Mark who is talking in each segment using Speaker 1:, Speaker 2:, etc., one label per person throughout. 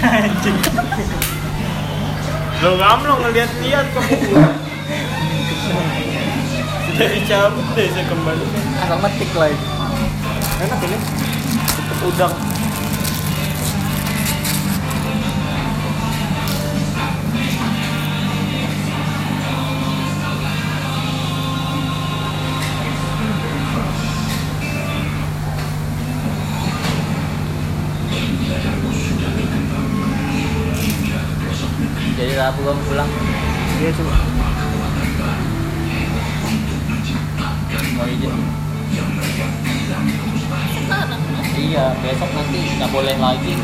Speaker 1: Anjing.
Speaker 2: Lo kamu lo ngeliat-liat kok. Sudah dicabut deh saya kembali.
Speaker 1: Anak metik lagi.
Speaker 2: Enak ini. Tutup udang.
Speaker 1: Jadi Rabu gua pulang
Speaker 2: Iya coba.
Speaker 1: mau izin. Iya, besok nanti nggak boleh lagi.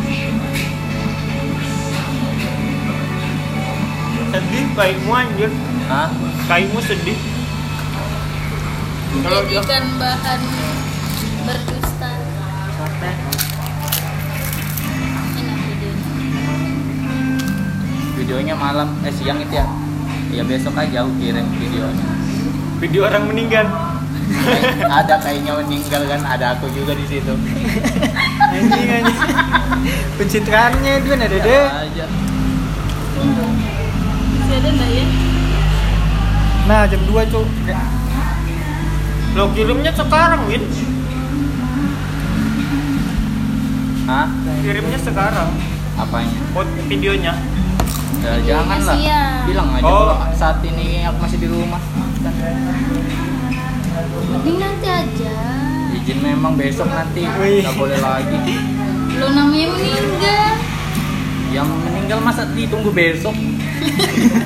Speaker 2: Sedih kaimu anjir.
Speaker 1: Hah?
Speaker 2: Kaimu sedih. Kalau dia
Speaker 3: Jadikan bahan berdusta. Enak videonya.
Speaker 1: Videonya malam, eh siang itu ya? Ya besok aja aku kirim videonya.
Speaker 2: video orang meninggal.
Speaker 1: Kayak- ada kayaknya meninggal kan, ada aku juga di situ.
Speaker 2: Anjing anjing. Iya. Pencitraannya itu kan, ada deh.
Speaker 1: Sama Iya, aja.
Speaker 3: Masih ada nggak ya?
Speaker 2: Nah jam 2 cuk Lo kirimnya sekarang Win
Speaker 1: Hah?
Speaker 2: Kirimnya sekarang
Speaker 1: Apanya?
Speaker 2: Buat videonya
Speaker 1: Ya,
Speaker 3: Videonya
Speaker 1: jangan lah.
Speaker 3: siang.
Speaker 1: Bilang aja
Speaker 2: Iya, Oh.
Speaker 1: kalau saat ini aku masih di rumah.
Speaker 3: Mending nanti aja.
Speaker 1: Izin memang besok nanti
Speaker 2: Wih.
Speaker 1: nggak boleh lagi.
Speaker 3: Lo namanya meninggal.
Speaker 1: Yang meninggal masa ditunggu besok?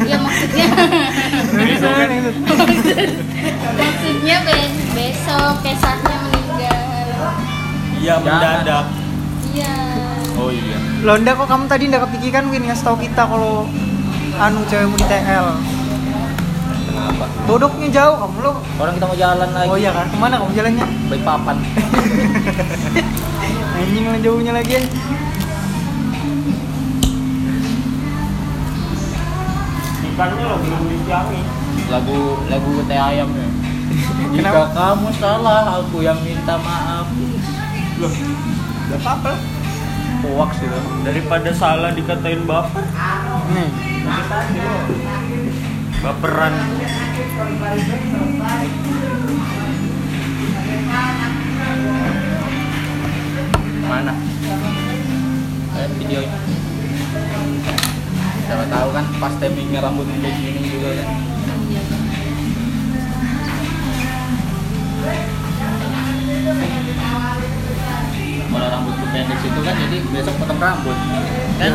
Speaker 3: Ya maksudnya.
Speaker 2: Iya,
Speaker 3: maksudnya be- besok kesahnya meninggal.
Speaker 2: Iya
Speaker 1: Jangan. mendadak.
Speaker 3: Iya.
Speaker 1: Oh iya.
Speaker 4: Londa kok kamu tadi nggak kepikiran Win ngasih tahu kita kalau anu cewekmu di TL.
Speaker 1: Kenapa?
Speaker 4: Dodoknya jauh kamu lo.
Speaker 1: Orang kita mau jalan lagi.
Speaker 4: Oh iya kan? Kemana kamu jalannya?
Speaker 1: Baik papan.
Speaker 4: Anjing lah jauhnya lagi. anjing.
Speaker 2: Ikannya lo belum disiangi
Speaker 1: lagu lagu teh ayam ya. Jika
Speaker 4: Kenapa?
Speaker 1: kamu salah, aku yang minta maaf.
Speaker 2: Loh Gak apa-apa lah.
Speaker 1: Hoax gitu.
Speaker 2: Daripada salah dikatain baper
Speaker 4: Nih.
Speaker 2: Baperan
Speaker 1: Mana? Eh, videonya. Siapa tahu kan pas timingnya rambut kayak gini juga kan.
Speaker 3: Iya.
Speaker 1: Kalau rambutku pendek situ kan jadi besok potong rambut. Kan?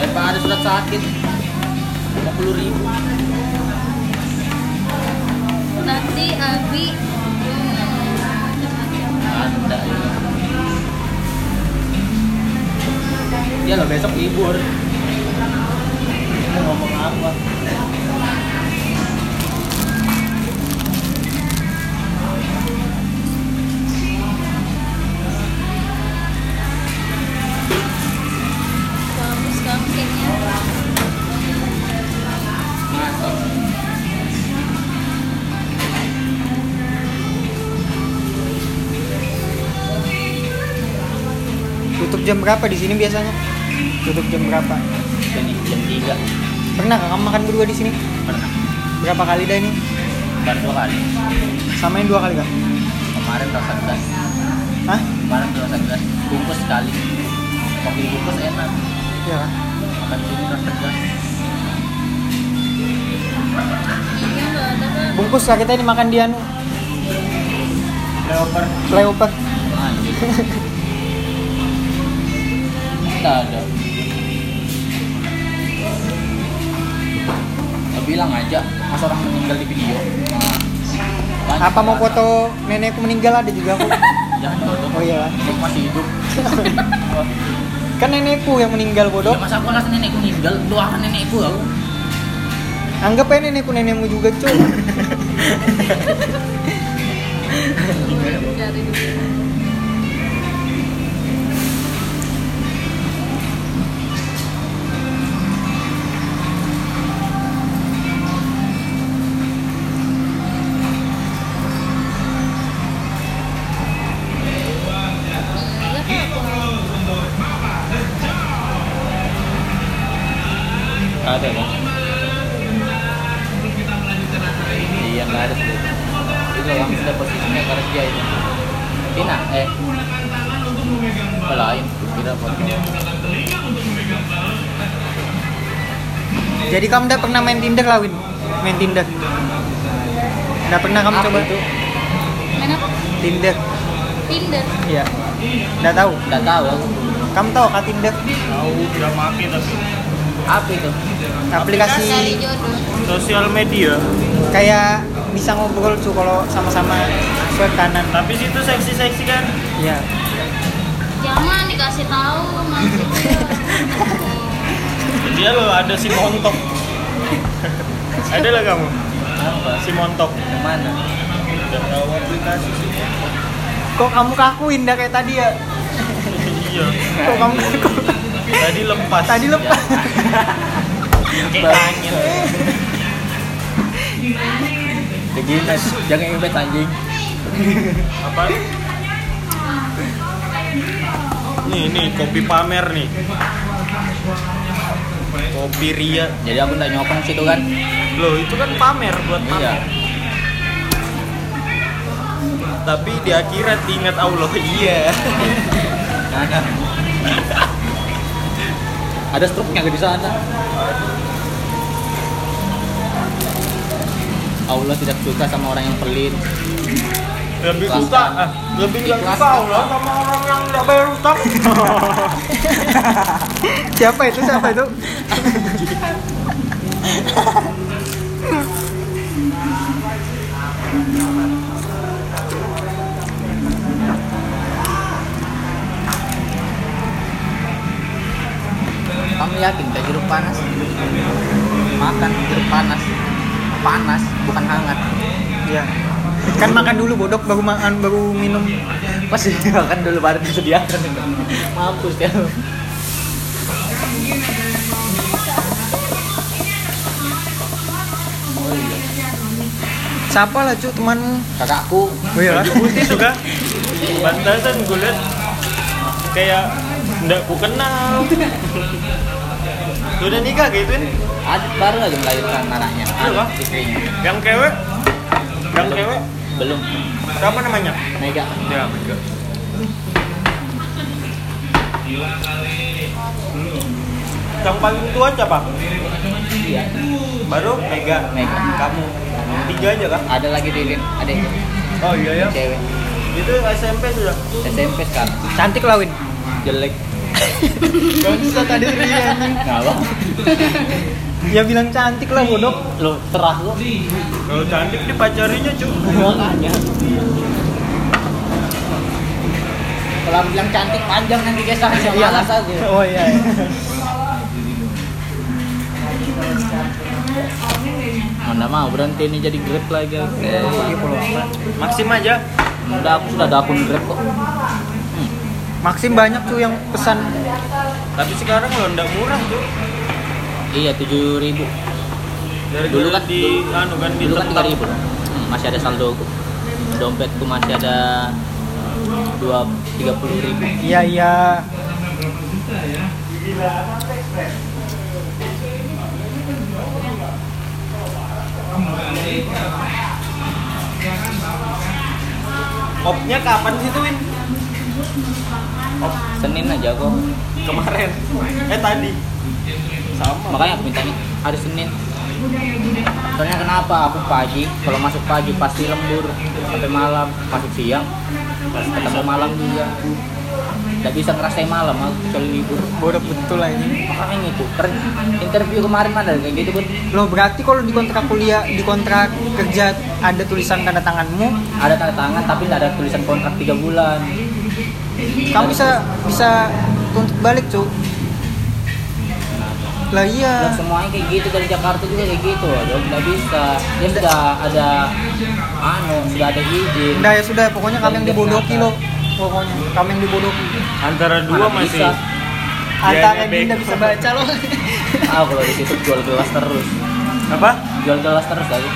Speaker 1: Eh, Pak ada surat sakit. 50 ribu.
Speaker 3: Nanti Abi
Speaker 1: Ada. ya. Iya loh besok libur. Mau ngomong apa?
Speaker 3: kamu sekarang kayaknya
Speaker 1: Ngantuk.
Speaker 4: Tutup jam berapa di sini biasanya? Tutup jam berapa?
Speaker 1: Jadi jam 3
Speaker 4: Pernah nggak kamu makan berdua di sini?
Speaker 1: pernah.
Speaker 4: Berapa kali dah ini?
Speaker 1: Baru dua kali.
Speaker 4: Samain dua kali kah?
Speaker 1: Kemarin rasa gas.
Speaker 4: Hah?
Speaker 1: Kemarin rasa gas. Bungkus sekali. Kopi bungkus enak.
Speaker 4: Iya kan?
Speaker 1: Makan di sini rasa gas.
Speaker 3: kayaknya nggak ada kan.
Speaker 4: Bungkus lah kita ini makan di anu
Speaker 2: Baper
Speaker 4: flyover.
Speaker 1: Lanjut. Tidak ada. Lo bilang aja, mas orang meninggal di video. Nah, banyak
Speaker 4: Apa mau
Speaker 1: orang.
Speaker 4: foto nenekku meninggal ada juga aku.
Speaker 1: Jangan foto.
Speaker 4: Oh iya lah.
Speaker 1: Nenekku masih hidup.
Speaker 4: Kan nenekku yang meninggal
Speaker 1: Bodoh.
Speaker 4: bodoh.
Speaker 1: Iya, masa aku rasa nenekku meninggal, doakan nenekku aku.
Speaker 4: Anggap aja nenekku nenekmu juga cuy.
Speaker 3: Dari dulu.
Speaker 1: kan? Iya, yang sudah posisinya kerja itu Tina eh Oh, lain tidak foto
Speaker 5: Jadi kamu udah pernah main Tinder lah Win? Main Tinder? Udah pernah kamu
Speaker 1: Apa
Speaker 5: coba?
Speaker 1: itu?
Speaker 6: Main apa?
Speaker 5: Tinder?
Speaker 6: Tinder.
Speaker 5: Iya Udah tahu?
Speaker 1: nggak tahu aku.
Speaker 5: Kamu tahu kah Tinder?
Speaker 4: Tahu udah pakai tapi
Speaker 1: apa itu
Speaker 6: Cari
Speaker 5: Aplikasi
Speaker 6: jodoh.
Speaker 4: sosial media.
Speaker 5: kayak bisa ngobrol tuh kalau sama-sama swipe kanan
Speaker 4: Tapi situ seksi-seksi kan.
Speaker 5: Iya
Speaker 6: Jangan dikasih tahu masih.
Speaker 4: Dia lo ada si montok. ada lah kamu
Speaker 1: apa
Speaker 4: si montok.
Speaker 1: kemana
Speaker 4: Udah tahu aplikasi sih.
Speaker 5: Kok kamu kakuin dah kayak tadi ya?
Speaker 4: iya.
Speaker 5: Kok kamu kaku?
Speaker 4: Tadi lepas.
Speaker 5: Tadi
Speaker 1: Ya.
Speaker 5: lepas
Speaker 4: kayak angin.
Speaker 1: begini jangan ngibet anjing
Speaker 4: Apa? Nih nih kopi pamer nih. Kopi ria.
Speaker 1: jadi aku nggak nyokong situ kan
Speaker 4: Loh itu kan pamer buat pamer.
Speaker 1: iya
Speaker 4: Tapi di akhirat diingat Allah. Iya.
Speaker 1: ada ada struknya di sana Allah tidak suka sama orang yang pelit
Speaker 4: Lebih
Speaker 1: Ikhlas,
Speaker 4: suka,
Speaker 1: kan?
Speaker 4: ah, lebih nggak
Speaker 1: Ikhlas,
Speaker 4: suka
Speaker 1: kan? Iya.
Speaker 4: Allah sama orang yang nggak bayar utang.
Speaker 5: Siapa itu? Siapa itu?
Speaker 1: kamu yakin gak jeruk panas makan jeruk panas panas bukan hangat
Speaker 5: Iya Kan makan dulu bodok baru makan baru minum
Speaker 1: pasti makan dulu baru disediakan mampus ya
Speaker 5: Siapa lah cu temanmu?
Speaker 1: kakakku
Speaker 5: Oh iya
Speaker 4: Baju putih tuh kan? Pantasan gue liat kayak nggak ku kenal. Udah nikah gitu kan?
Speaker 1: Adit baru aja melahirkan anaknya
Speaker 4: Iya, Bang.
Speaker 1: Adit istrinya
Speaker 4: Yang cewek, yang cewek
Speaker 1: belum
Speaker 4: siapa namanya?
Speaker 1: Mega
Speaker 4: Ya, Mega. Yang paling tua siapa?
Speaker 1: iya
Speaker 4: Baru Mega.
Speaker 1: Mega.
Speaker 4: Kamu. Tiga aja kan?
Speaker 1: ada lagi Dilin ada
Speaker 4: Oh iya ya.
Speaker 1: cewek
Speaker 4: Itu SMP sudah.
Speaker 1: SMP sekarang
Speaker 5: Cantik lah Win
Speaker 1: jelek
Speaker 5: Bangsat tadi dia
Speaker 1: ngapa
Speaker 5: Ya bilang cantik lah bodok
Speaker 1: lo serah lo
Speaker 4: Kalau cantik dia pacarinya cuy.
Speaker 1: makanya kalau bilang cantik panjang nanti kesah sama alas aja
Speaker 5: Oh iya
Speaker 1: mana mau berhenti ini jadi grab lagi aku.
Speaker 4: Maksim aja.
Speaker 1: udah aku sudah ada akun grab kok
Speaker 5: Maxim banyak tuh yang pesan
Speaker 4: Tapi sekarang lo ndak murah tuh.
Speaker 1: iya tujuh ribu
Speaker 4: Dari
Speaker 1: Dulu kan-
Speaker 4: di anu kan di
Speaker 1: dulu kan tiga
Speaker 4: tempat.
Speaker 1: ribu Hmm, masih ada saldo aku. dompetku masih ada dua tiga puluh ribu
Speaker 5: Iya iya
Speaker 4: Opnya kapan sih tuh Win? Op
Speaker 1: senin aja kok
Speaker 4: kemarin. Eh tadi. Sama.
Speaker 1: makanya aku minta nih hari Senin soalnya kenapa aku pagi kalau masuk pagi pasti lembur sampai malam masuk siang ketemu malam juga nggak bisa ngerasain malam aku kecuali libur
Speaker 5: Bodok betul lah ini
Speaker 1: makanya itu Ter- interview kemarin ada kayak gitu kan
Speaker 5: Loh berarti kalau di kontrak kuliah, di kontrak kerja ada tulisan tanda tanganmu
Speaker 1: ada tanda tangan tapi nggak ada tulisan kontrak tiga bulan
Speaker 5: kamu bisa bisa tuntut balik cu lah
Speaker 1: Dan
Speaker 5: iya
Speaker 1: semuanya kayak gitu dari Jakarta juga kayak gitu dong nggak bisa ya sudah ada anu sudah ada izin
Speaker 5: udah ya sudah pokoknya kamu yang dibodohi loh pokoknya kamu yang dibodohi
Speaker 4: Antara
Speaker 1: Mana
Speaker 4: dua masih.
Speaker 1: bisa.
Speaker 5: antara
Speaker 4: Iya, iya,
Speaker 5: yang tidak
Speaker 4: Bek.
Speaker 5: bisa baca loh
Speaker 1: ah kalau di situ jual gelas terus
Speaker 4: Apa?
Speaker 1: jual gelas terus lagi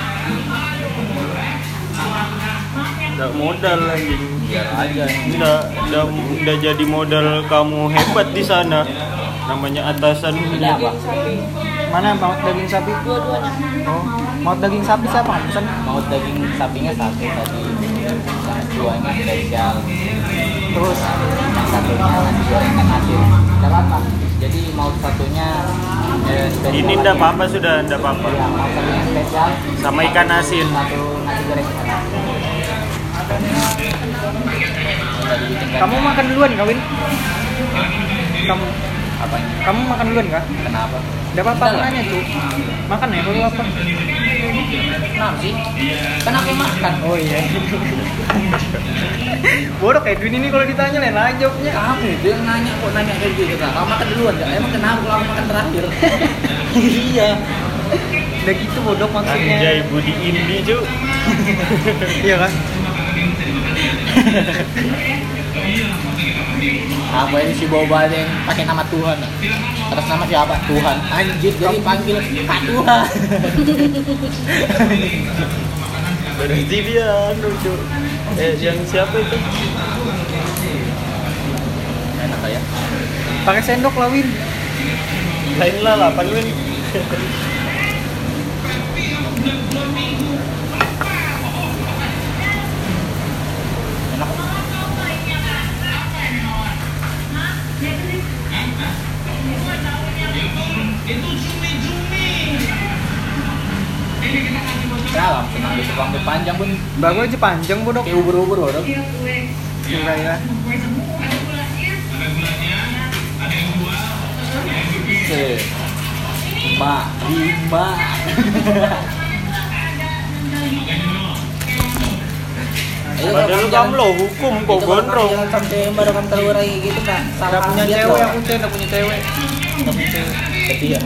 Speaker 4: Ndak modal lagi.
Speaker 1: biar aja
Speaker 4: Ndak ndak ndak jadi modal kamu hebat di sana. Namanya atasan
Speaker 1: ini apa
Speaker 5: Mana yang maut daging sapi?
Speaker 6: dua-duanya
Speaker 5: Oh, maut daging sapi siapa? Nggak Pesan.
Speaker 1: mau daging sapinya satu tadi dua yang spesial
Speaker 5: Terus
Speaker 1: yang satunya nasi gorengan asin Nggak apa-apa jadi mau satunya eh, spesial
Speaker 4: Ini
Speaker 1: aja.
Speaker 4: ndak apa-apa sudah, ndak apa-apa.
Speaker 1: Iya, mau satunya spesial
Speaker 4: Sama ikan asin.
Speaker 1: satu nasi gorengan Tadi ditinggal.
Speaker 5: kamu makan duluan kah, Win? Kamu
Speaker 1: apanya
Speaker 5: kamu makan duluan kah?
Speaker 1: kenapa
Speaker 5: Enggak apa-apa aku nanya tuh. Makan ya, kalau apa?
Speaker 1: kenapa sih kenapa makan
Speaker 5: Oh iya. Bodoh kayak Edwin ini kalau ditanya lain aja jawabnya.
Speaker 1: kamu itu yang ya? nanya kok nanya kayak gitu kak kamu makan duluan kak emang kenapa kamu makan terakhir
Speaker 5: iya. Udah gitu bodoh maksudnya.
Speaker 4: Anjay Budi Indi cu
Speaker 5: Iya kan?
Speaker 1: apa ini si boba yang pakai nama Tuhan ya? atas nama siapa Tuhan anjir jadi panggil Pak Tuhan
Speaker 4: Berarti dia anu cu Eh yang siapa itu?
Speaker 1: enak ya
Speaker 5: Pakai sendok lah Win.
Speaker 4: Lain lah lah Panwin
Speaker 1: enak Kenapa? Senang di Jepang panjang pun
Speaker 5: Mbak gue aja panjang bodoh.
Speaker 1: kayak ubur-ubur loh. dok.
Speaker 5: Enggak ya.
Speaker 1: Se- Lima, lima. Ayo, Iya, Kak,
Speaker 4: Padahal
Speaker 1: jangan-
Speaker 4: kamu loh hukum kok
Speaker 1: itu kan kalau
Speaker 4: gondrong
Speaker 1: kamu Jangan sampai merekam telur kayak gitu kan.
Speaker 5: Enggak punya cewek aku cewek, enggak punya cewek.
Speaker 1: Tapi ya,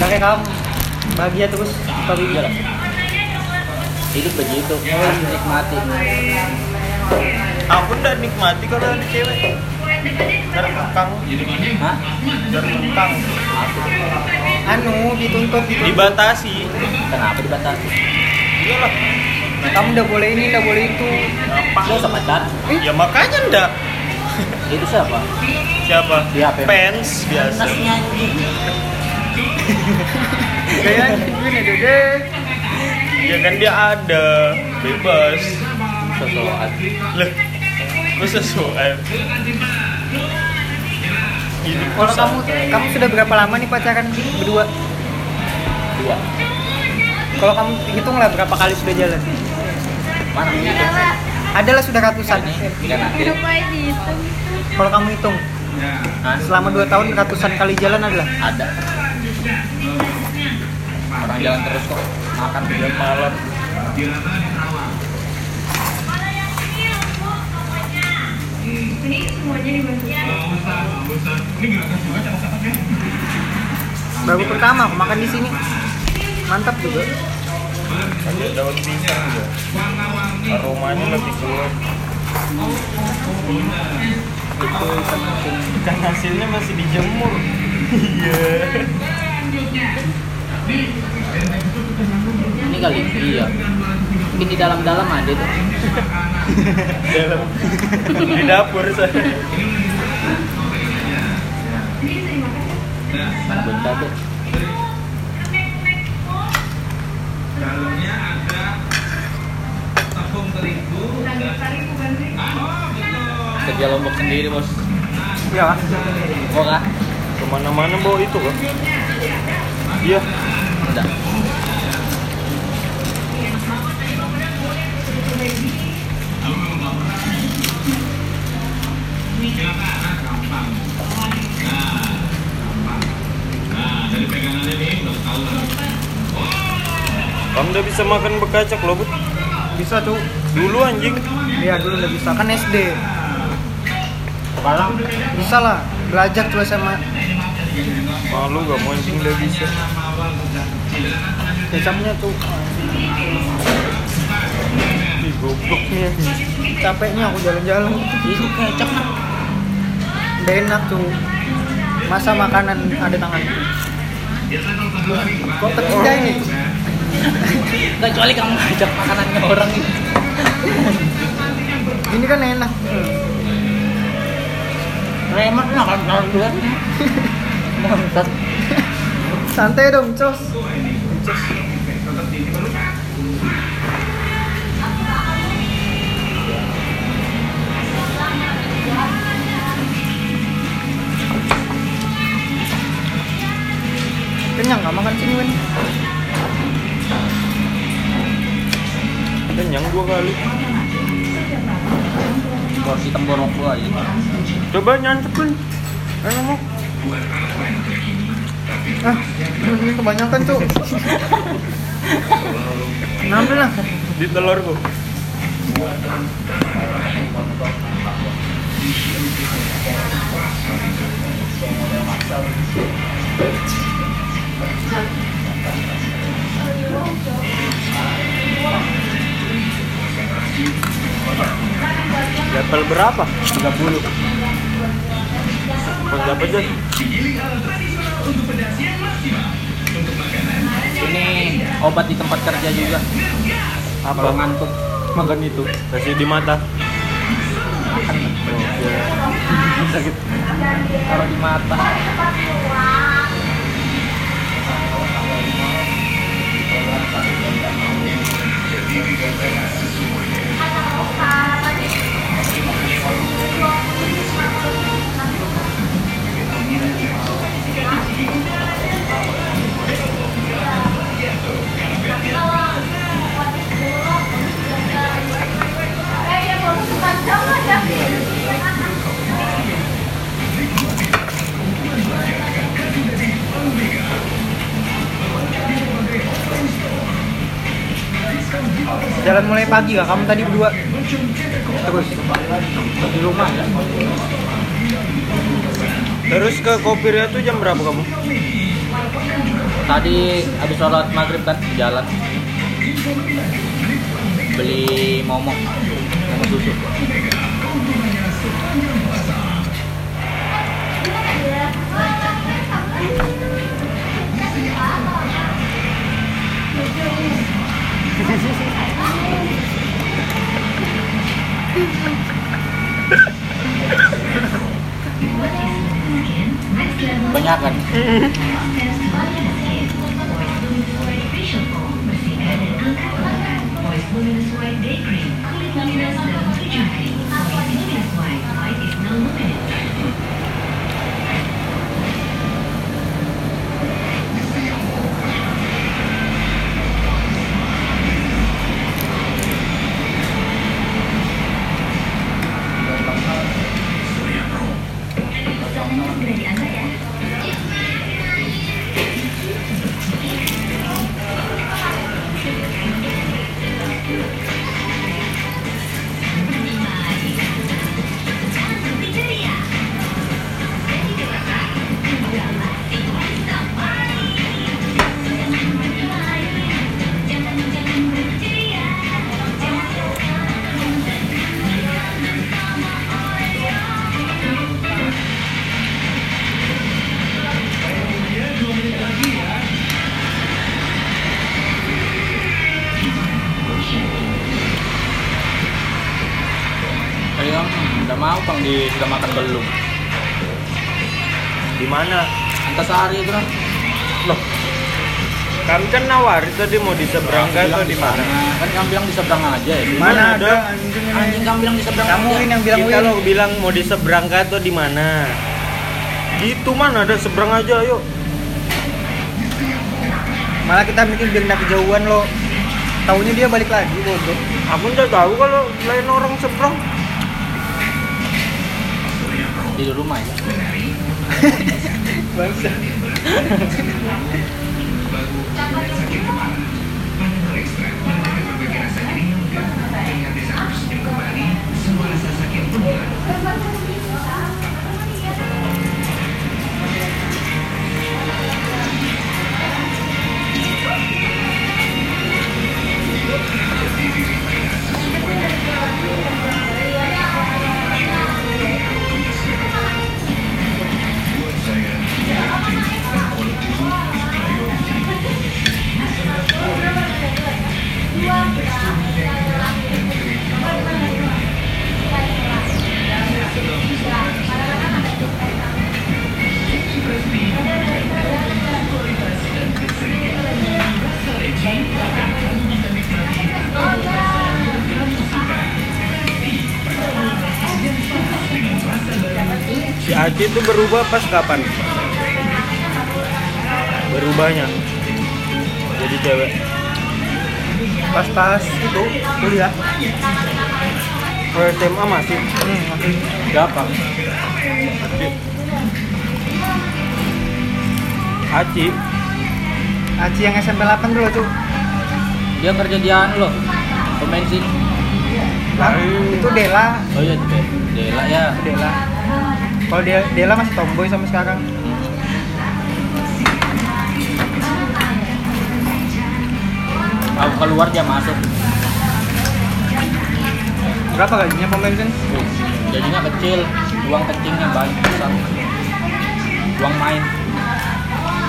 Speaker 5: Kakek kamu bahagia terus tapi
Speaker 1: iya lah. Hidup begitu, harus nikmati.
Speaker 4: Aku ndak nikmati kalau ada cewek Ntar kang
Speaker 1: Hah?
Speaker 4: Ntar kang
Speaker 5: anu dituntut dituntut.
Speaker 4: Dibatasi
Speaker 1: Kenapa dibatasi?
Speaker 4: Iyalah
Speaker 5: Kamu udah boleh ini, udah boleh itu.
Speaker 4: Apa?
Speaker 1: Lo sama pacar?
Speaker 4: Ya makanya ndak
Speaker 1: Itu siapa?
Speaker 4: Siapa?
Speaker 1: Iya, Pem.
Speaker 4: Pens biasa
Speaker 1: Nasnya anjing.
Speaker 5: Kayaknya Edwin ada deh.
Speaker 4: Ya kan dia ada Bebas
Speaker 1: Sosokan.
Speaker 4: Loh Kok sesuai? Hidup
Speaker 5: Kalau
Speaker 4: susah.
Speaker 5: kamu kamu sudah berapa lama nih pacaran berdua?
Speaker 1: Dua.
Speaker 5: Kalau kamu hitunglah berapa kali sudah jalan?
Speaker 1: Mana?
Speaker 5: Adalah sudah ratusan.
Speaker 1: Ini kan nanti.
Speaker 6: ngapain dihitung
Speaker 5: Kalau kamu hitung
Speaker 1: Hah?
Speaker 5: selama 2 tahun ratusan kali jalan adalah
Speaker 1: Ada. Orang jalan terus kok. Makan
Speaker 4: Udah malam
Speaker 5: baru pertama aku makan di sini. Mantap juga.
Speaker 4: Ada daun pisang juga. Aromanya lebih keluar. Ikan kan hasilnya masih dijemur. Iya.
Speaker 1: Ini kali. Iya. Mungkin di dalam-dalam ada tuh.
Speaker 4: Dalam di dapur saya.
Speaker 1: Bentar deh. Kerja lombok sendiri bos.
Speaker 5: Ya. Kak.
Speaker 1: Oh kak?
Speaker 4: Kemana-mana bawa itu kan? Iya.
Speaker 1: Enggak.
Speaker 4: Kamu udah bisa makan bekacak loh, Bud.
Speaker 5: Bisa tuh.
Speaker 4: Dulu anjing.
Speaker 5: Iya dulu udah bisa kan SD.
Speaker 1: Palang.
Speaker 5: Bisa lah. Belajar tuh sama
Speaker 4: Malu gak mau anjing udah bisa.
Speaker 5: kecapnya tuh.
Speaker 4: Ih, goblok.
Speaker 5: Iya. Capeknya aku jalan-jalan.
Speaker 1: Itu kecap nak.
Speaker 5: Udah enak tuh. Masa makanan ada tangan. Kok ketiga ini?
Speaker 1: Kecuali kamu ngajak makanannya orang itu.
Speaker 5: Ini kan enak.
Speaker 1: Remet nak kan orang dua. Bangsat.
Speaker 5: Santai dong, Cos. Kenyang nggak makan sini, Win?
Speaker 4: Kenyang dua kali.
Speaker 1: porsi temborok gua aja
Speaker 4: Coba nyancepin. Ayo mau.
Speaker 5: Ah, ini kebanyakan, Cuk. Nampil lah.
Speaker 4: Di telurku. Level berapa? 30 Kau dapat Jon?
Speaker 1: ini obat di tempat kerja juga kalau
Speaker 4: Apa?
Speaker 1: ngantuk
Speaker 4: Makan itu Kasih di mata
Speaker 1: sakit taruh di mata
Speaker 5: Jalan mulai pagi gak? Kamu tadi berdua. Terus.
Speaker 1: di rumah ya
Speaker 4: Terus ke kopiria tuh jam berapa kamu?
Speaker 1: tadi habis sholat maghrib kan jalan beli momok momok susu banyak kan Tadi kan udah mau pang di udah makan belum
Speaker 4: Di mana?
Speaker 1: Antasari itu kan
Speaker 4: Loh. Kami kan nawari tadi mau di seberang kan atau
Speaker 1: bilang
Speaker 4: di mana?
Speaker 1: kan kamu bilang di seberang aja ya
Speaker 4: Mana
Speaker 5: Mana
Speaker 4: ada?
Speaker 5: ada Nah,
Speaker 1: anjing
Speaker 5: anjing ini?
Speaker 1: kamu bilang di seberang
Speaker 5: Kamu
Speaker 1: aja
Speaker 5: Win yang bilang
Speaker 4: Kita
Speaker 5: Win.
Speaker 4: lo bilang mau di seberang kan atau di mana? Gitu mana ada seberang aja yuk.
Speaker 5: Malah kita bikin biar nggak kejauhan lo. Taunya dia balik lagi, bodoh.
Speaker 4: Aku nggak tahu kalau lain orang seberang.
Speaker 1: di rumah ya
Speaker 5: Bangsa.
Speaker 4: si Aji itu berubah pas kapan? Berubahnya jadi cewek.
Speaker 5: pas pas itu kuliah
Speaker 4: Kalau SMA masih
Speaker 5: hmm, oke.
Speaker 4: gampang. Aci
Speaker 5: Aci yang SMP 8 dulu tuh
Speaker 1: dia kerja di anu loh pembensin
Speaker 5: Lah,
Speaker 4: Lain.
Speaker 5: itu Dela
Speaker 1: oh iya De- Dela ya
Speaker 5: Dela kalau dia Dela masih tomboy sampai sekarang
Speaker 1: aku keluar dia masuk
Speaker 5: berapa gajinya pembensin
Speaker 1: Uh, gajinya kecil uang kencingnya banyak besar uang main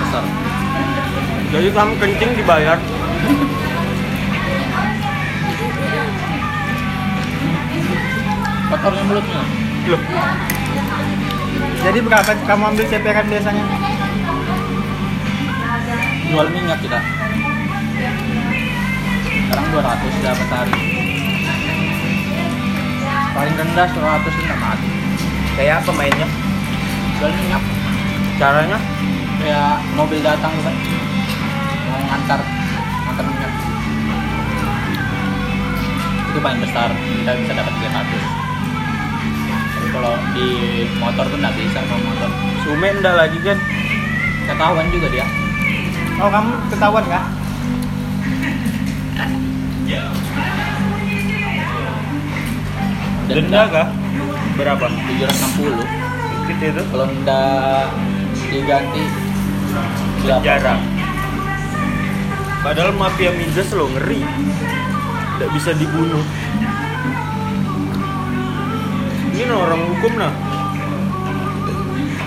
Speaker 1: besar
Speaker 4: jadi kamu kencing dibayar.
Speaker 1: kotornya mulutnya
Speaker 4: Loh,
Speaker 5: jadi berapa kamu ambil CP kan biasanya
Speaker 1: jual minyak kita sekarang 200 dapat hari paling rendah 100 ini nggak mati
Speaker 4: kayak apa mainnya?
Speaker 1: jual minyak
Speaker 4: Caranya?
Speaker 1: kayak mobil datang tuh kan mau ngantar ngantar minyak itu paling besar kita bisa dapat 300 tapi kalau di motor tuh nggak bisa kalau motor
Speaker 4: Sume ndak lagi kan?
Speaker 1: ketahuan juga dia
Speaker 5: oh kamu ketahuan nggak
Speaker 4: Denda kah? Berapa?
Speaker 1: 760
Speaker 4: Gitu itu.
Speaker 1: kalau denda diganti berapa
Speaker 4: Penjara. Padahal mafia migas lo ngeri. Tidak bisa dibunuh. Ini nah orang hukum nah.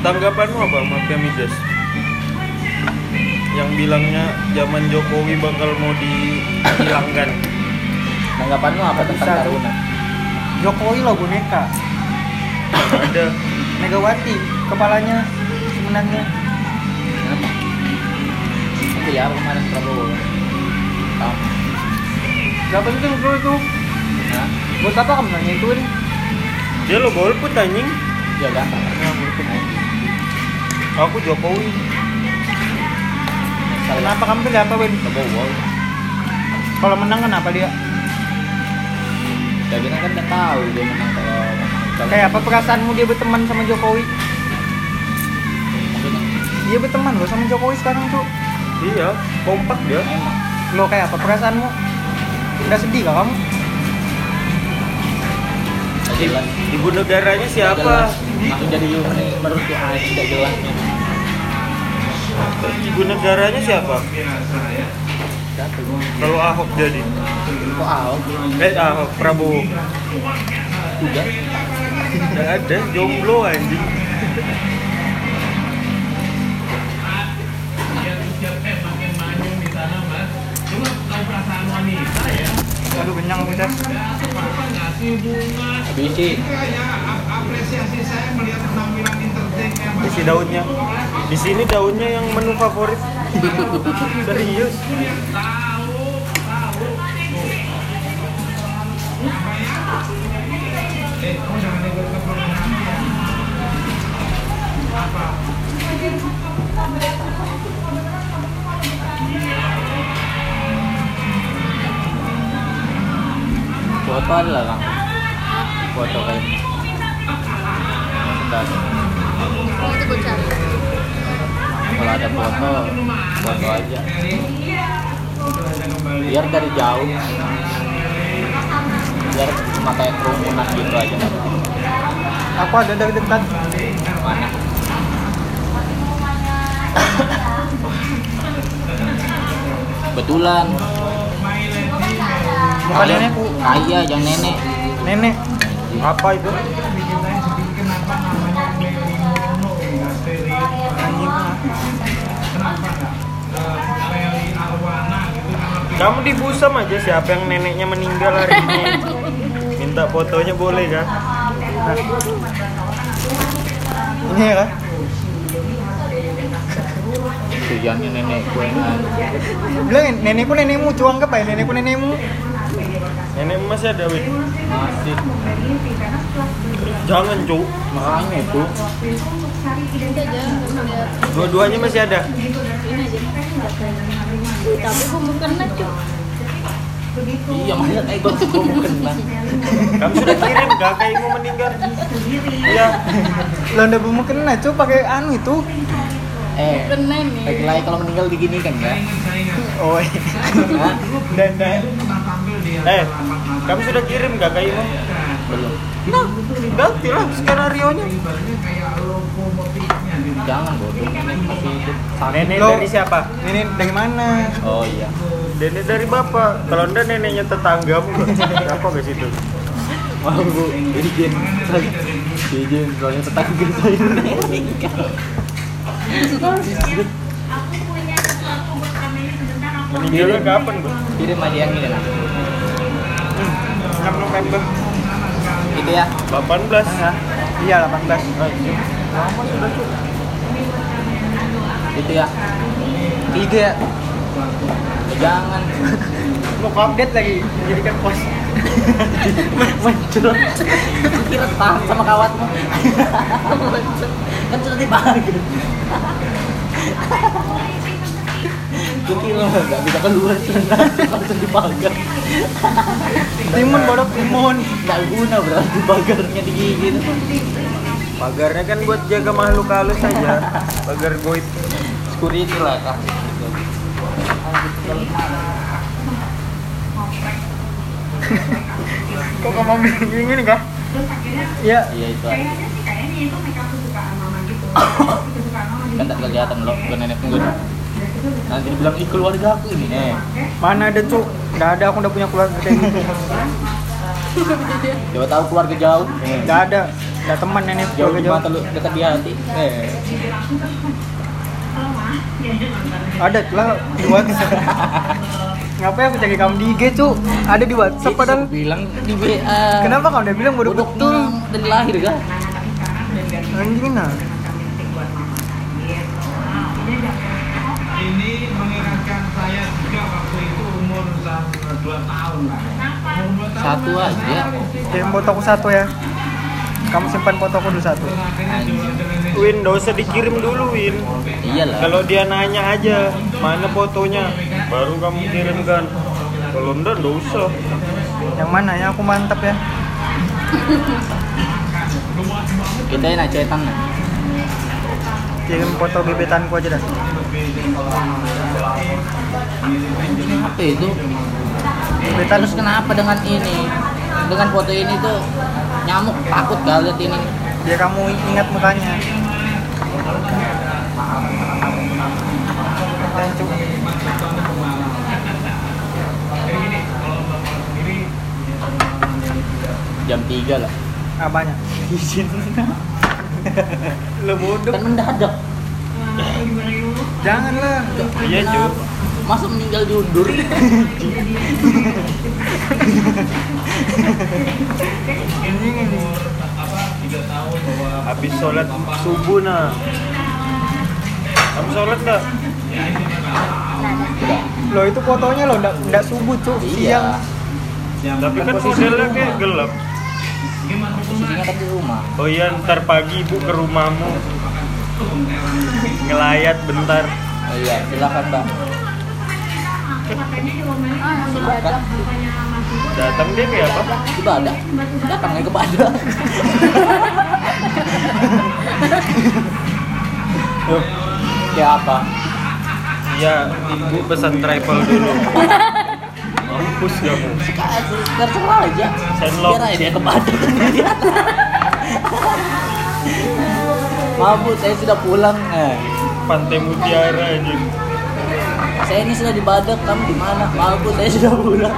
Speaker 4: Tanggapanmu apa mafia migas? Yang bilangnya zaman Jokowi bakal mau dihilangkan.
Speaker 1: tanggapanmu apa tentang
Speaker 5: Bisa.
Speaker 1: Taruna
Speaker 5: Jokowi lo boneka
Speaker 4: Ada
Speaker 5: Megawati kepalanya sebenarnya
Speaker 1: Kenapa? itu ya kemarin Prabowo Tam.
Speaker 5: gak penting bro itu
Speaker 1: Nah,
Speaker 5: buat apa kamu nanya itu
Speaker 4: dia lo golput anjing.
Speaker 1: ya gampang
Speaker 4: Aku Jokowi.
Speaker 1: Salah
Speaker 5: kenapa kamu pilih apa Win
Speaker 1: Prabowo
Speaker 5: kalau menang kenapa dia
Speaker 1: Dia bilang kan udah tahu dia menang kalau kalau-
Speaker 5: kayak apa perasaanmu dia berteman sama Jokowi
Speaker 1: Maksudnya,
Speaker 5: dia berteman loh sama Jokowi sekarang tuh
Speaker 4: Iya, kompak dia.
Speaker 1: emang
Speaker 5: lo kayak apa perasaanmu udah sedih gak kamu
Speaker 1: nggak jelas
Speaker 4: Ibu negaranya
Speaker 1: Nggak
Speaker 4: siapa?
Speaker 1: jelas. Langsung jadi menurut tuh aneh tidak jelasnya
Speaker 4: Ibu negaranya siapa?
Speaker 1: Siapa itu?
Speaker 4: Kalau Ahok jadi.
Speaker 1: kok Ahok
Speaker 4: Eh Ahok Prabowo.
Speaker 1: juga
Speaker 4: Nggak ada, jomblo anjing.
Speaker 5: aduh kenyang aku Chan.
Speaker 1: habisin
Speaker 4: Isi daunnya. Di sini daunnya yang menu favorit. Serius.
Speaker 1: foto adalah lang foto kayak Sebentar.
Speaker 6: Oh, itu gue cari.
Speaker 1: kalau ada foto foto aja biar dari jauh biar cuma kayak kerumunan gitu aja
Speaker 5: aku ada dari dekat
Speaker 1: mana kebetulan
Speaker 5: muka nenekku
Speaker 1: kaya yang nenek
Speaker 5: nenek
Speaker 4: Apa itu?
Speaker 5: anjing
Speaker 4: Kamu di Busam aja siapa yang neneknya meninggal hari ini. Minta fotonya boleh kan?
Speaker 5: ini ya kan
Speaker 1: tujuannya nenek gue
Speaker 5: bilangin nenekku nenekmu cuang ke nenekku nenekmu
Speaker 4: Nenek masih ada win.
Speaker 1: masih
Speaker 4: Jangan cuk.
Speaker 1: makanya itu
Speaker 6: Udah jangan udah.
Speaker 4: Dua-duanya masih ada.
Speaker 6: Ini aja. Ih, Tapi gue mau kena cuk.
Speaker 1: iya makanya eh gue gue mau kena
Speaker 4: Kamu sudah kirim kakakmu meninggal. Iya.
Speaker 5: Lah ndak belum kena cuy pakai anu itu.
Speaker 1: eh
Speaker 6: Kena nih.
Speaker 1: baik lagi kalau meninggal begini kan ya
Speaker 5: Oh.
Speaker 1: Hah?
Speaker 5: Dan dan.
Speaker 4: Eh, kamu sudah kirim kakakmu.
Speaker 1: belum
Speaker 5: Nah, ganti lah skenario-nya.
Speaker 1: jangan bodoh nenek masih hidup Sakit.
Speaker 4: Nenek
Speaker 5: Lo-
Speaker 4: dari siapa?
Speaker 5: Ini dari mana?
Speaker 1: oh iya
Speaker 4: Nenek dari bapak. Kalau anda neneknya tetanggamu loh. Apa ke situ?
Speaker 1: mau bu izin izin soalnya tetangga saya meninggal
Speaker 4: Meninggalnya kapan, Bu?
Speaker 1: kirim aja yang ini lah
Speaker 4: 6 November
Speaker 1: gitu ya
Speaker 4: 18.
Speaker 5: Hah? Iya
Speaker 4: Lama
Speaker 5: 18.
Speaker 4: sudah, Cuk.
Speaker 1: gitu ya
Speaker 5: Tiga.
Speaker 1: jangan
Speaker 5: Mau update lagi menjadikan pos.
Speaker 1: mencurut kira tahan sama kawatmu kan sudah dipanggil Kira nggak bisa keluar senang langsung dipagar
Speaker 5: Timun bodoh timun.
Speaker 1: nggak guna berarti pagarnya digigit
Speaker 4: Pagarnya kan buat jaga makhluk halus saja. Pagar goib.
Speaker 1: security lah kak
Speaker 5: Kok kamu bingung ini kah? Ya,
Speaker 1: iya itu aja kan tak kelihatan loh ke nenek gue nanti dibilang ih keluarga aku ini eh
Speaker 5: mana ada cuk? Nggak ada, aku udah punya keluarga kayak gitu.
Speaker 1: coba tahu keluarga jauh eh.
Speaker 5: Nggak ada, nggak teman nenek
Speaker 1: jauh
Speaker 5: keluarga
Speaker 1: di
Speaker 5: jauh.
Speaker 1: mata lu dekat di hati eh
Speaker 5: Ada lah di WhatsApp. Ngapain aku cari kamu di IG cuk? Ada di WhatsApp
Speaker 1: Itu
Speaker 5: padahal.
Speaker 1: aku bilang di WA
Speaker 5: Kenapa kamu udah bilang bodoh
Speaker 1: bodoh
Speaker 5: betul?
Speaker 1: tuh dari lahir kan
Speaker 5: Anjing nah.
Speaker 7: ini mengingatkan saya juga waktu itu umur 2 tahun lah. Umur 2 tahun
Speaker 1: satu aja
Speaker 5: Kirim fotoku satu ya. Kamu simpan fotoku dulu satu.
Speaker 4: Win, nggak usah dikirim dulu, Win.
Speaker 1: iyalah
Speaker 4: Kalau dia nanya aja, mana fotonya? Baru kamu kirimkan. Kalau enggak, nggak usah.
Speaker 5: Yang mana ya? Aku mantap ya.
Speaker 1: kita enak cetan lah
Speaker 5: Kirim foto gebetanku aja dah.
Speaker 1: apa itu
Speaker 5: Gebetan
Speaker 1: terus kenapa dengan ini dengan foto ini tuh nyamuk takut gak lihat ini
Speaker 5: biar kamu ingat mukanya. Dan cuk,
Speaker 1: jam 3 lah
Speaker 5: apanya?
Speaker 1: izin
Speaker 5: Lo bodoh.
Speaker 1: kan mendadak
Speaker 5: Janganlah.
Speaker 4: Iya, Ju.
Speaker 1: masa meninggal diundur
Speaker 4: Habis sholat subuh, nah. Kamu sholat nggak?
Speaker 5: Lo itu fotonya lo ndak ndak subuh cuk
Speaker 1: iya
Speaker 5: siang.
Speaker 4: Tapi kan modelnya kayak gelap.
Speaker 1: posisinya kan di rumah
Speaker 4: Oh iya, ntar pagi ibu ke rumahmu. Ngelayat bentar.
Speaker 1: oh, iya silakan mbak
Speaker 6: Ah, masih ada.
Speaker 4: Datang dia kayak apa?
Speaker 1: coba ada datangnya ke badan
Speaker 4: Loh,
Speaker 1: ya apa
Speaker 4: Iya, ibu pesan travel dulu. Mampus kamu.
Speaker 1: terserah aja
Speaker 4: Sendok.
Speaker 1: biar aja dia ke badan Maaf Bu, saya sudah pulang. Eh,
Speaker 4: Pantai Mutiara aja.
Speaker 1: saya ini sudah di Badak, kamu di mana? Maaf Bu, saya sudah pulang.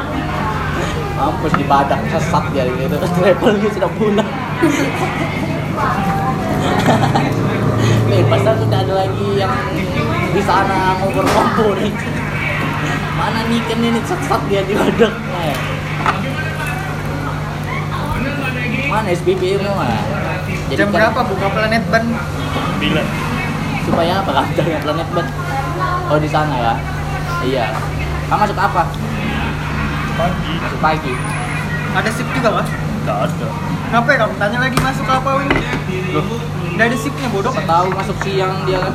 Speaker 1: Mampus di Badak, sesat dia gitu. Travelnya sudah pulang. Nih, pasar sudah ada lagi yang di sana mau berkumpul nih. Mana nih kan ini sesat dia di Badak. Eh. Mana SPBM mana? Jadi
Speaker 5: Jam
Speaker 1: kan-
Speaker 5: berapa buka planet ban?
Speaker 4: Bila
Speaker 1: supaya apa kan dari planet bet oh di sana ya iya kamu masuk apa
Speaker 4: pagi
Speaker 1: masuk pagi
Speaker 5: Ada sip juga, Mas?
Speaker 4: nggak ada
Speaker 5: Ngapain kamu tanya lagi masuk apa ini?
Speaker 4: loh
Speaker 5: Nggak ada sipnya, bodoh.
Speaker 1: Siapa tahu masuk siang dia kan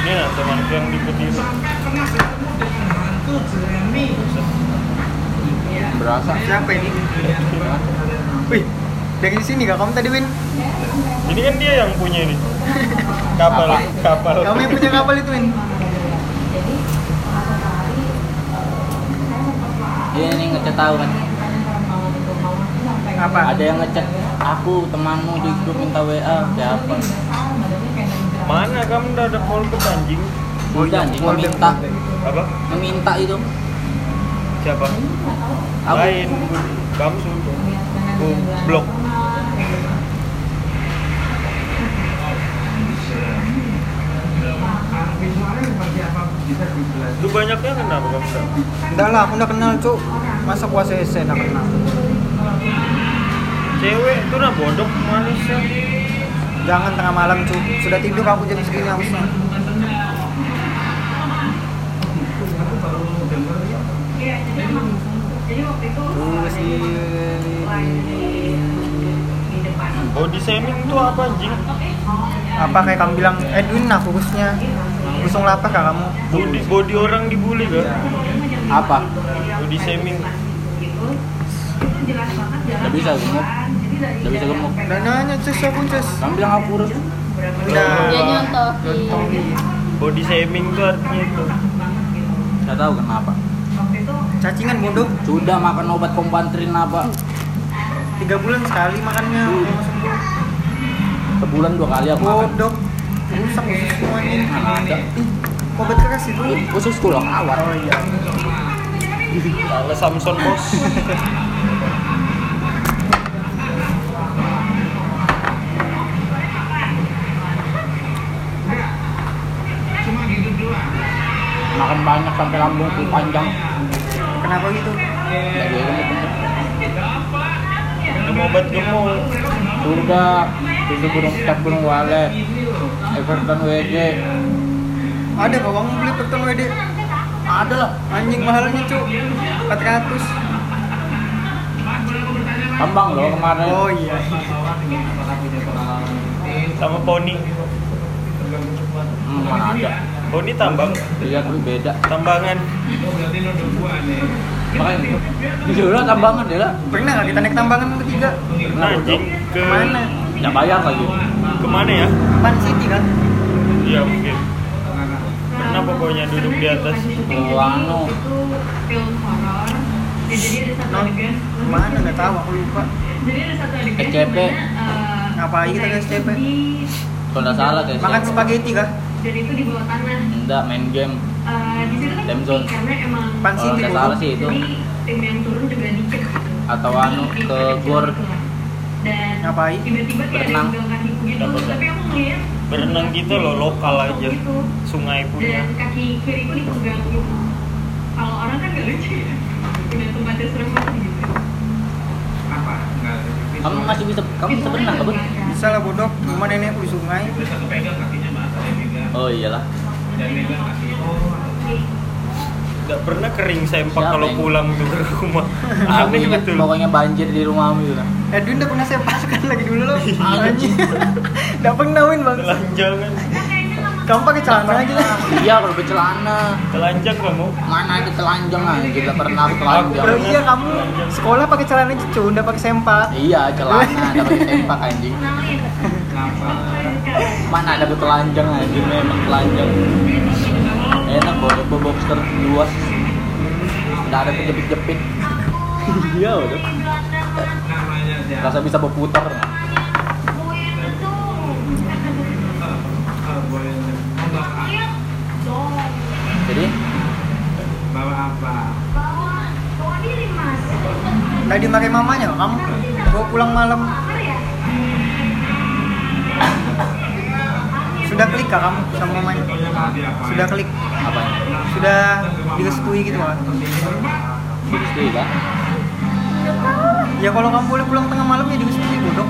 Speaker 4: ini lah temanku yang di peti
Speaker 1: berasa
Speaker 5: Siapa ini? Wih, dari sini gak kamu tadi, Win?
Speaker 4: Ini kan dia yang punya ini. Kapal,
Speaker 1: Apa?
Speaker 4: kapal.
Speaker 5: Kamu yang punya kapal itu, Win?
Speaker 1: dia ini ngecat tahu kan
Speaker 5: Apa?
Speaker 1: ada yang ngecat aku temanmu di grup minta wa siapa
Speaker 4: Mana kamu udah ada polpet anjing?
Speaker 1: sudah anjing meminta
Speaker 4: Apa?
Speaker 1: meminta itu
Speaker 4: Siapa?
Speaker 1: Aku.
Speaker 4: Lain. Kamu sudah. Oh, blok. Lu banyaknya kenapa kamu udah?
Speaker 5: Enggak lah, aku udah kenal, Cuk. Masa puasa SC enggak E kenal?
Speaker 4: Cewek itu nah bodok manusia.
Speaker 5: Jangan tengah malam, Cuk. Sudah tidur aku jam segini harusnya. Terus di...
Speaker 4: Body shaming itu apa anjing?
Speaker 5: Apa kayak kamu bilang, Edwin nah fokusnya. Langsung lapar kah kamu?
Speaker 4: Body, body orang dibully kan?
Speaker 1: apa
Speaker 4: Body shaming.
Speaker 1: nggak bisa gemuk nggak bisa gemuk
Speaker 5: Dan nanya, Cus, aku, Cus.
Speaker 1: kamu bilang aku kurus
Speaker 5: Nah,
Speaker 6: Dia nyontoh.
Speaker 4: Body shaming itu artinya itu.
Speaker 1: nggak tahu kenapa
Speaker 5: cacingan bodoh.
Speaker 1: sudah makan obat kombantrin apa
Speaker 5: Tiga bulan sekali makannya.
Speaker 1: sebulan dua kali aku makan
Speaker 5: Bodoh. Rusak usus semuanya.
Speaker 1: Mana ada
Speaker 5: Obat keras itu.
Speaker 1: khusus tulang awar
Speaker 5: Oh iya.
Speaker 4: Ala Samson bos.
Speaker 1: makan banyak sampai lambungku panjang
Speaker 5: Kenapa gitu?
Speaker 1: nggak jadi gemuk
Speaker 4: Minum obat gemuk.
Speaker 1: Surga, itu burung petak burung walet, Everton WJ.
Speaker 5: Ada kok kamu beli pertama WD.
Speaker 1: Ada lah.
Speaker 5: Anjing mahalnya, Cuk. 400.
Speaker 1: Kambang loh kemarin.
Speaker 5: Oh iya.
Speaker 4: sama poni
Speaker 1: Hmm, mana ada.
Speaker 4: poni tambang
Speaker 1: Iya, tapi beda.
Speaker 4: tambangan
Speaker 1: Makanya itu lah tambangan dia lah.
Speaker 5: Pernah nggak kita naik tambangan bertiga?
Speaker 1: Pernah,
Speaker 4: anjing Nah,
Speaker 1: bodoh.
Speaker 4: ke
Speaker 5: Kemana?
Speaker 1: Nggak bayar lagi.
Speaker 4: kemana ya
Speaker 5: Pan City kan?
Speaker 4: iya mungkin pernah pokoknya duduk di atas
Speaker 6: eh,
Speaker 1: Oh, anu.
Speaker 6: Nah,
Speaker 5: Non, kemana? Nggak tahu, aku lupa.
Speaker 1: SCP.
Speaker 6: eh,
Speaker 5: Ngapain kita ke SCP?
Speaker 1: Kalau nggak salah guys.
Speaker 5: Makan spaghetti kah?
Speaker 6: Dan itu di bawah tanah.
Speaker 1: Enggak main game.
Speaker 6: Eh, di situ kan
Speaker 1: Time
Speaker 6: sepi,
Speaker 1: zone.
Speaker 6: karena emang
Speaker 5: Pan
Speaker 1: Kalau
Speaker 5: City
Speaker 1: nggak
Speaker 5: bodoh.
Speaker 1: salah sih itu
Speaker 6: jadi tim yang turun juga dikit. gitu.
Speaker 1: atau anu
Speaker 6: Jadi,
Speaker 1: ke
Speaker 6: ada jalan
Speaker 1: gor
Speaker 6: keluar. Dan
Speaker 5: Ngapain?
Speaker 6: tiba-tiba kayak ada
Speaker 1: Berenang.
Speaker 6: yang pegang kaki gitu,
Speaker 4: Dapat.
Speaker 6: tapi aku ngeliat
Speaker 4: berenang gitu loh lokal aja
Speaker 1: Iya,
Speaker 6: gitu.
Speaker 4: sungai punya
Speaker 6: Dan kaki kiriku dipegang gitu. Kalau orang kan nggak lucu ya. Punya tempatnya serem banget gitu.
Speaker 1: kamu masih bisa kamu bisa berenang kebun
Speaker 5: Bisa lah bodoh, rumah nenekku di sungai. Eh,
Speaker 1: oh iyalah
Speaker 4: Oh, nggak pernah kering sempak
Speaker 1: Siapa
Speaker 4: kalau
Speaker 1: yang-
Speaker 4: pulang tuh ke rumah
Speaker 1: aku
Speaker 4: aneh
Speaker 1: ingat
Speaker 4: betul
Speaker 1: pokoknya banjir di rumahmu itu kan
Speaker 5: Edwin udah pernah saya paskan lagi dulu loh.
Speaker 1: Anjing.
Speaker 5: Udah pernah Win bang.
Speaker 4: telanjang kan
Speaker 5: Kamu pakai celana aja lah.
Speaker 1: iya kalau bercelana
Speaker 4: telanjang kamu
Speaker 1: mana itu telanjang aja kita pernah aku
Speaker 5: Bro,
Speaker 1: telanjang
Speaker 4: Aku-
Speaker 5: iya kamu sekolah pakai celana aja cuy, udah pakai sempak.
Speaker 1: iya celana dapat tempat anjing
Speaker 6: Kenalin.
Speaker 1: mana ada telanjang anjing memang telanjang enak bodoh bo boxer luas nggak ada kejepit-jepit iya udah rasa bisa berputar jadi
Speaker 5: Tadi pakai mamanya loh, kamu. Gua pulang malam. Sudah klik kah kamu sama mamanya? Sudah klik.
Speaker 1: apa
Speaker 5: Sudah direstui gitu kan?
Speaker 1: ini istri kan
Speaker 5: Ya kalau kamu boleh pulang tengah malam ya direstui bodoh.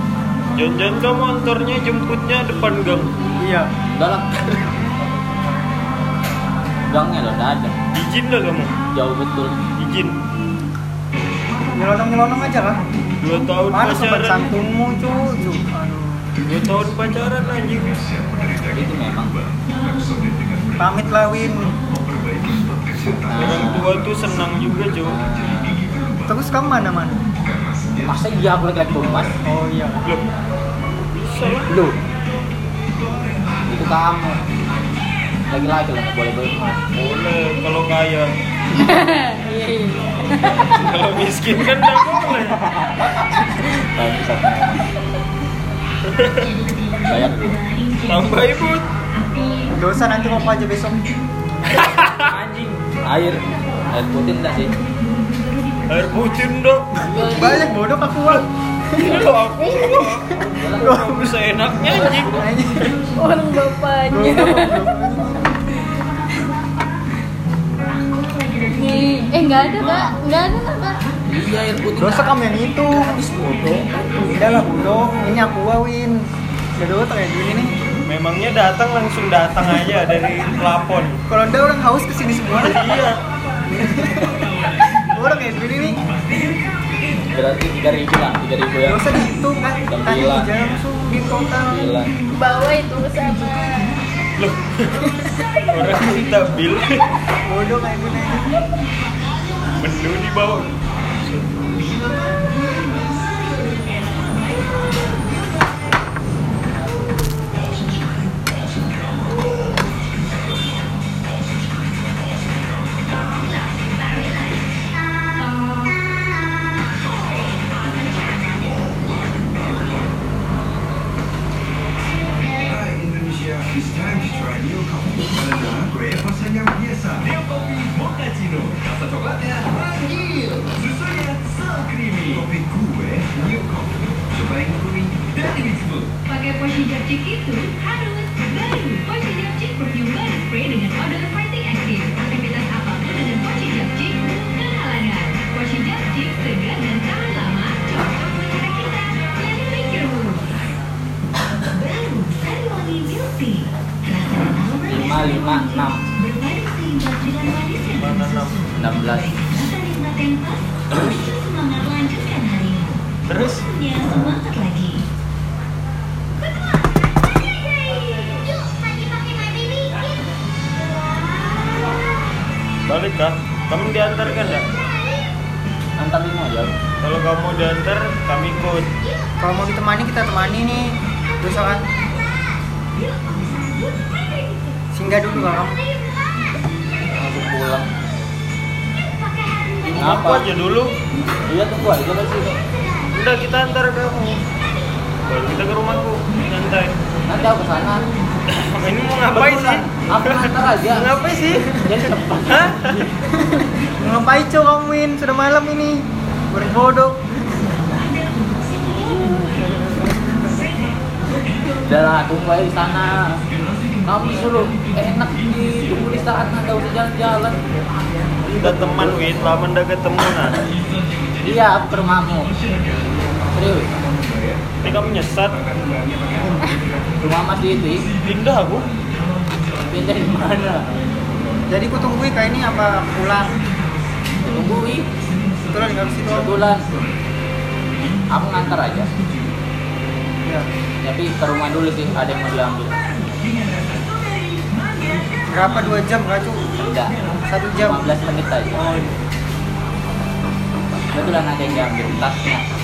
Speaker 4: Jangan-jangan kamu antarnya jemputnya depan gang
Speaker 5: iya
Speaker 1: Enggak lah. Gangnya loh, enggak ada.
Speaker 4: Izin lah kamu
Speaker 1: Jauh betul.
Speaker 4: Izin
Speaker 5: nyelonong nyelonong aja lah
Speaker 4: Dua tahun
Speaker 5: mana sobat
Speaker 4: pacaran
Speaker 5: santunmu cu cu aduh
Speaker 4: Dua tahun pacaran anjing
Speaker 1: Itu memang.
Speaker 5: pamit lah Win
Speaker 1: Nah,
Speaker 4: Orang tua tuh senang juga Jo
Speaker 5: terus kamu mana mana
Speaker 1: Masa iya aku lagi kompas?
Speaker 5: oh iya
Speaker 4: Loh Bisa ya? lah
Speaker 1: Lu. Itu kamu. Lagi-lagi lah, nggak boleh berhenti.
Speaker 4: Boleh kalau kaya Kalau miskin kan gak boleh
Speaker 1: Bayar dulu.
Speaker 4: Tambah ibut
Speaker 5: dosa nanti mau apa aja besok
Speaker 4: Anjing
Speaker 1: Air. Air putih enggak sih?
Speaker 4: Air pucin dong
Speaker 5: banyak bodoh aku Wak.
Speaker 4: Kalau aku Aku bisa enaknya anjing
Speaker 3: orang bapaknya Nih, eh nggak ada kak nggak ada lah kak
Speaker 1: Iya air putih.
Speaker 5: dosa kamu yang itu
Speaker 1: habis bodoh.
Speaker 5: udah lah bodoh ini aku Wak, Win udah dosa kayak gini nih
Speaker 4: Memangnya datang langsung datang aja dari pelapon
Speaker 5: kalau anda orang haus kesini semua
Speaker 4: Iya
Speaker 5: orang kayak gini nih
Speaker 1: Berarti 3000 lah, 3000 ya.
Speaker 5: dosa dihitung kan tadi
Speaker 1: Gila.
Speaker 5: jam su di total
Speaker 1: Gila.
Speaker 3: bawa itu sama
Speaker 4: Loh Orang minta bil
Speaker 5: bodoh kayak gini aja.
Speaker 4: Menu dibawa
Speaker 7: Indonesia is time to try new coffee. Karena Grey persen yang biasa. New coffee mochaccino. Rasa coklatnya manggil. Susunya so creamy. Kopi gue new coffee. Cobain kuri dari Wismu.
Speaker 6: Pakai Poshi Japcik itu harus baru. Poshi Japcik perfume baru spray dengan odor fighting active. Aktivitas apapun dengan Poshi Japcik bukan halangan. Poshi Japcik segar dan tahan lama. Cocok menggerak kita. Jadi make your move. Baru Sariwangi Beauty.
Speaker 1: Lima,
Speaker 6: Rasa aroma dan
Speaker 1: lima,
Speaker 6: wangi.
Speaker 1: enam.
Speaker 6: Berpadu seimbang dengan manis yang
Speaker 4: Mana
Speaker 6: susu.
Speaker 4: enam?
Speaker 1: 16.
Speaker 6: Rasa nikmat yang pas. Muncul semangat lanjutkan harimu.
Speaker 4: Terus
Speaker 6: Waktunya semangat Ya, lagi.
Speaker 4: balik kah? Kamu diantar kan gak?
Speaker 1: Antar 5 aja.
Speaker 4: Kalau kamu diantar, kami ikut
Speaker 5: kalau mau ditemani kita temani nih dosa kan singgah dulu kalau kamu
Speaker 1: Langsung pulang.
Speaker 4: Aku
Speaker 1: Kenapa?
Speaker 4: aja dulu
Speaker 1: Iya tunggu aja kan sih.
Speaker 4: Udah kita antar kamu Baru kita ke rumahku Nyantai
Speaker 1: Nanti aku kesana.
Speaker 4: Ini mau ngapain sih?
Speaker 1: Aku antar aja.
Speaker 5: ngapain sih
Speaker 1: Jadi tempat.
Speaker 5: ngapain cu kamu Win sudah malam ini berbodoh
Speaker 1: Udah lah, tunggu aja di sana. Kamu suruh enak di tunggu di sana, nggak usah jalan-jalan.
Speaker 4: Kita teman Win, lama ndak ketemu nah
Speaker 1: Iya, aku ke rumahmu. Serius,
Speaker 4: Ini kamu nyesat
Speaker 1: rumah Mas Didi,
Speaker 4: Pindah aku
Speaker 1: pindah di mana?
Speaker 5: jadi ku tungguin kayak ini apa pulang
Speaker 1: Tungguin,
Speaker 5: kebetulan nggak ke situ
Speaker 1: kebetulan. Aku ngantar aja.
Speaker 5: ya
Speaker 1: Tapi ke rumah dulu sih, ada yang mau diambil.
Speaker 5: berapa dua jam nggak cu
Speaker 1: Enggak,
Speaker 5: satu jam
Speaker 1: 15 menit aja.
Speaker 5: oh
Speaker 1: Kebetulan ada yang diambil tasnya.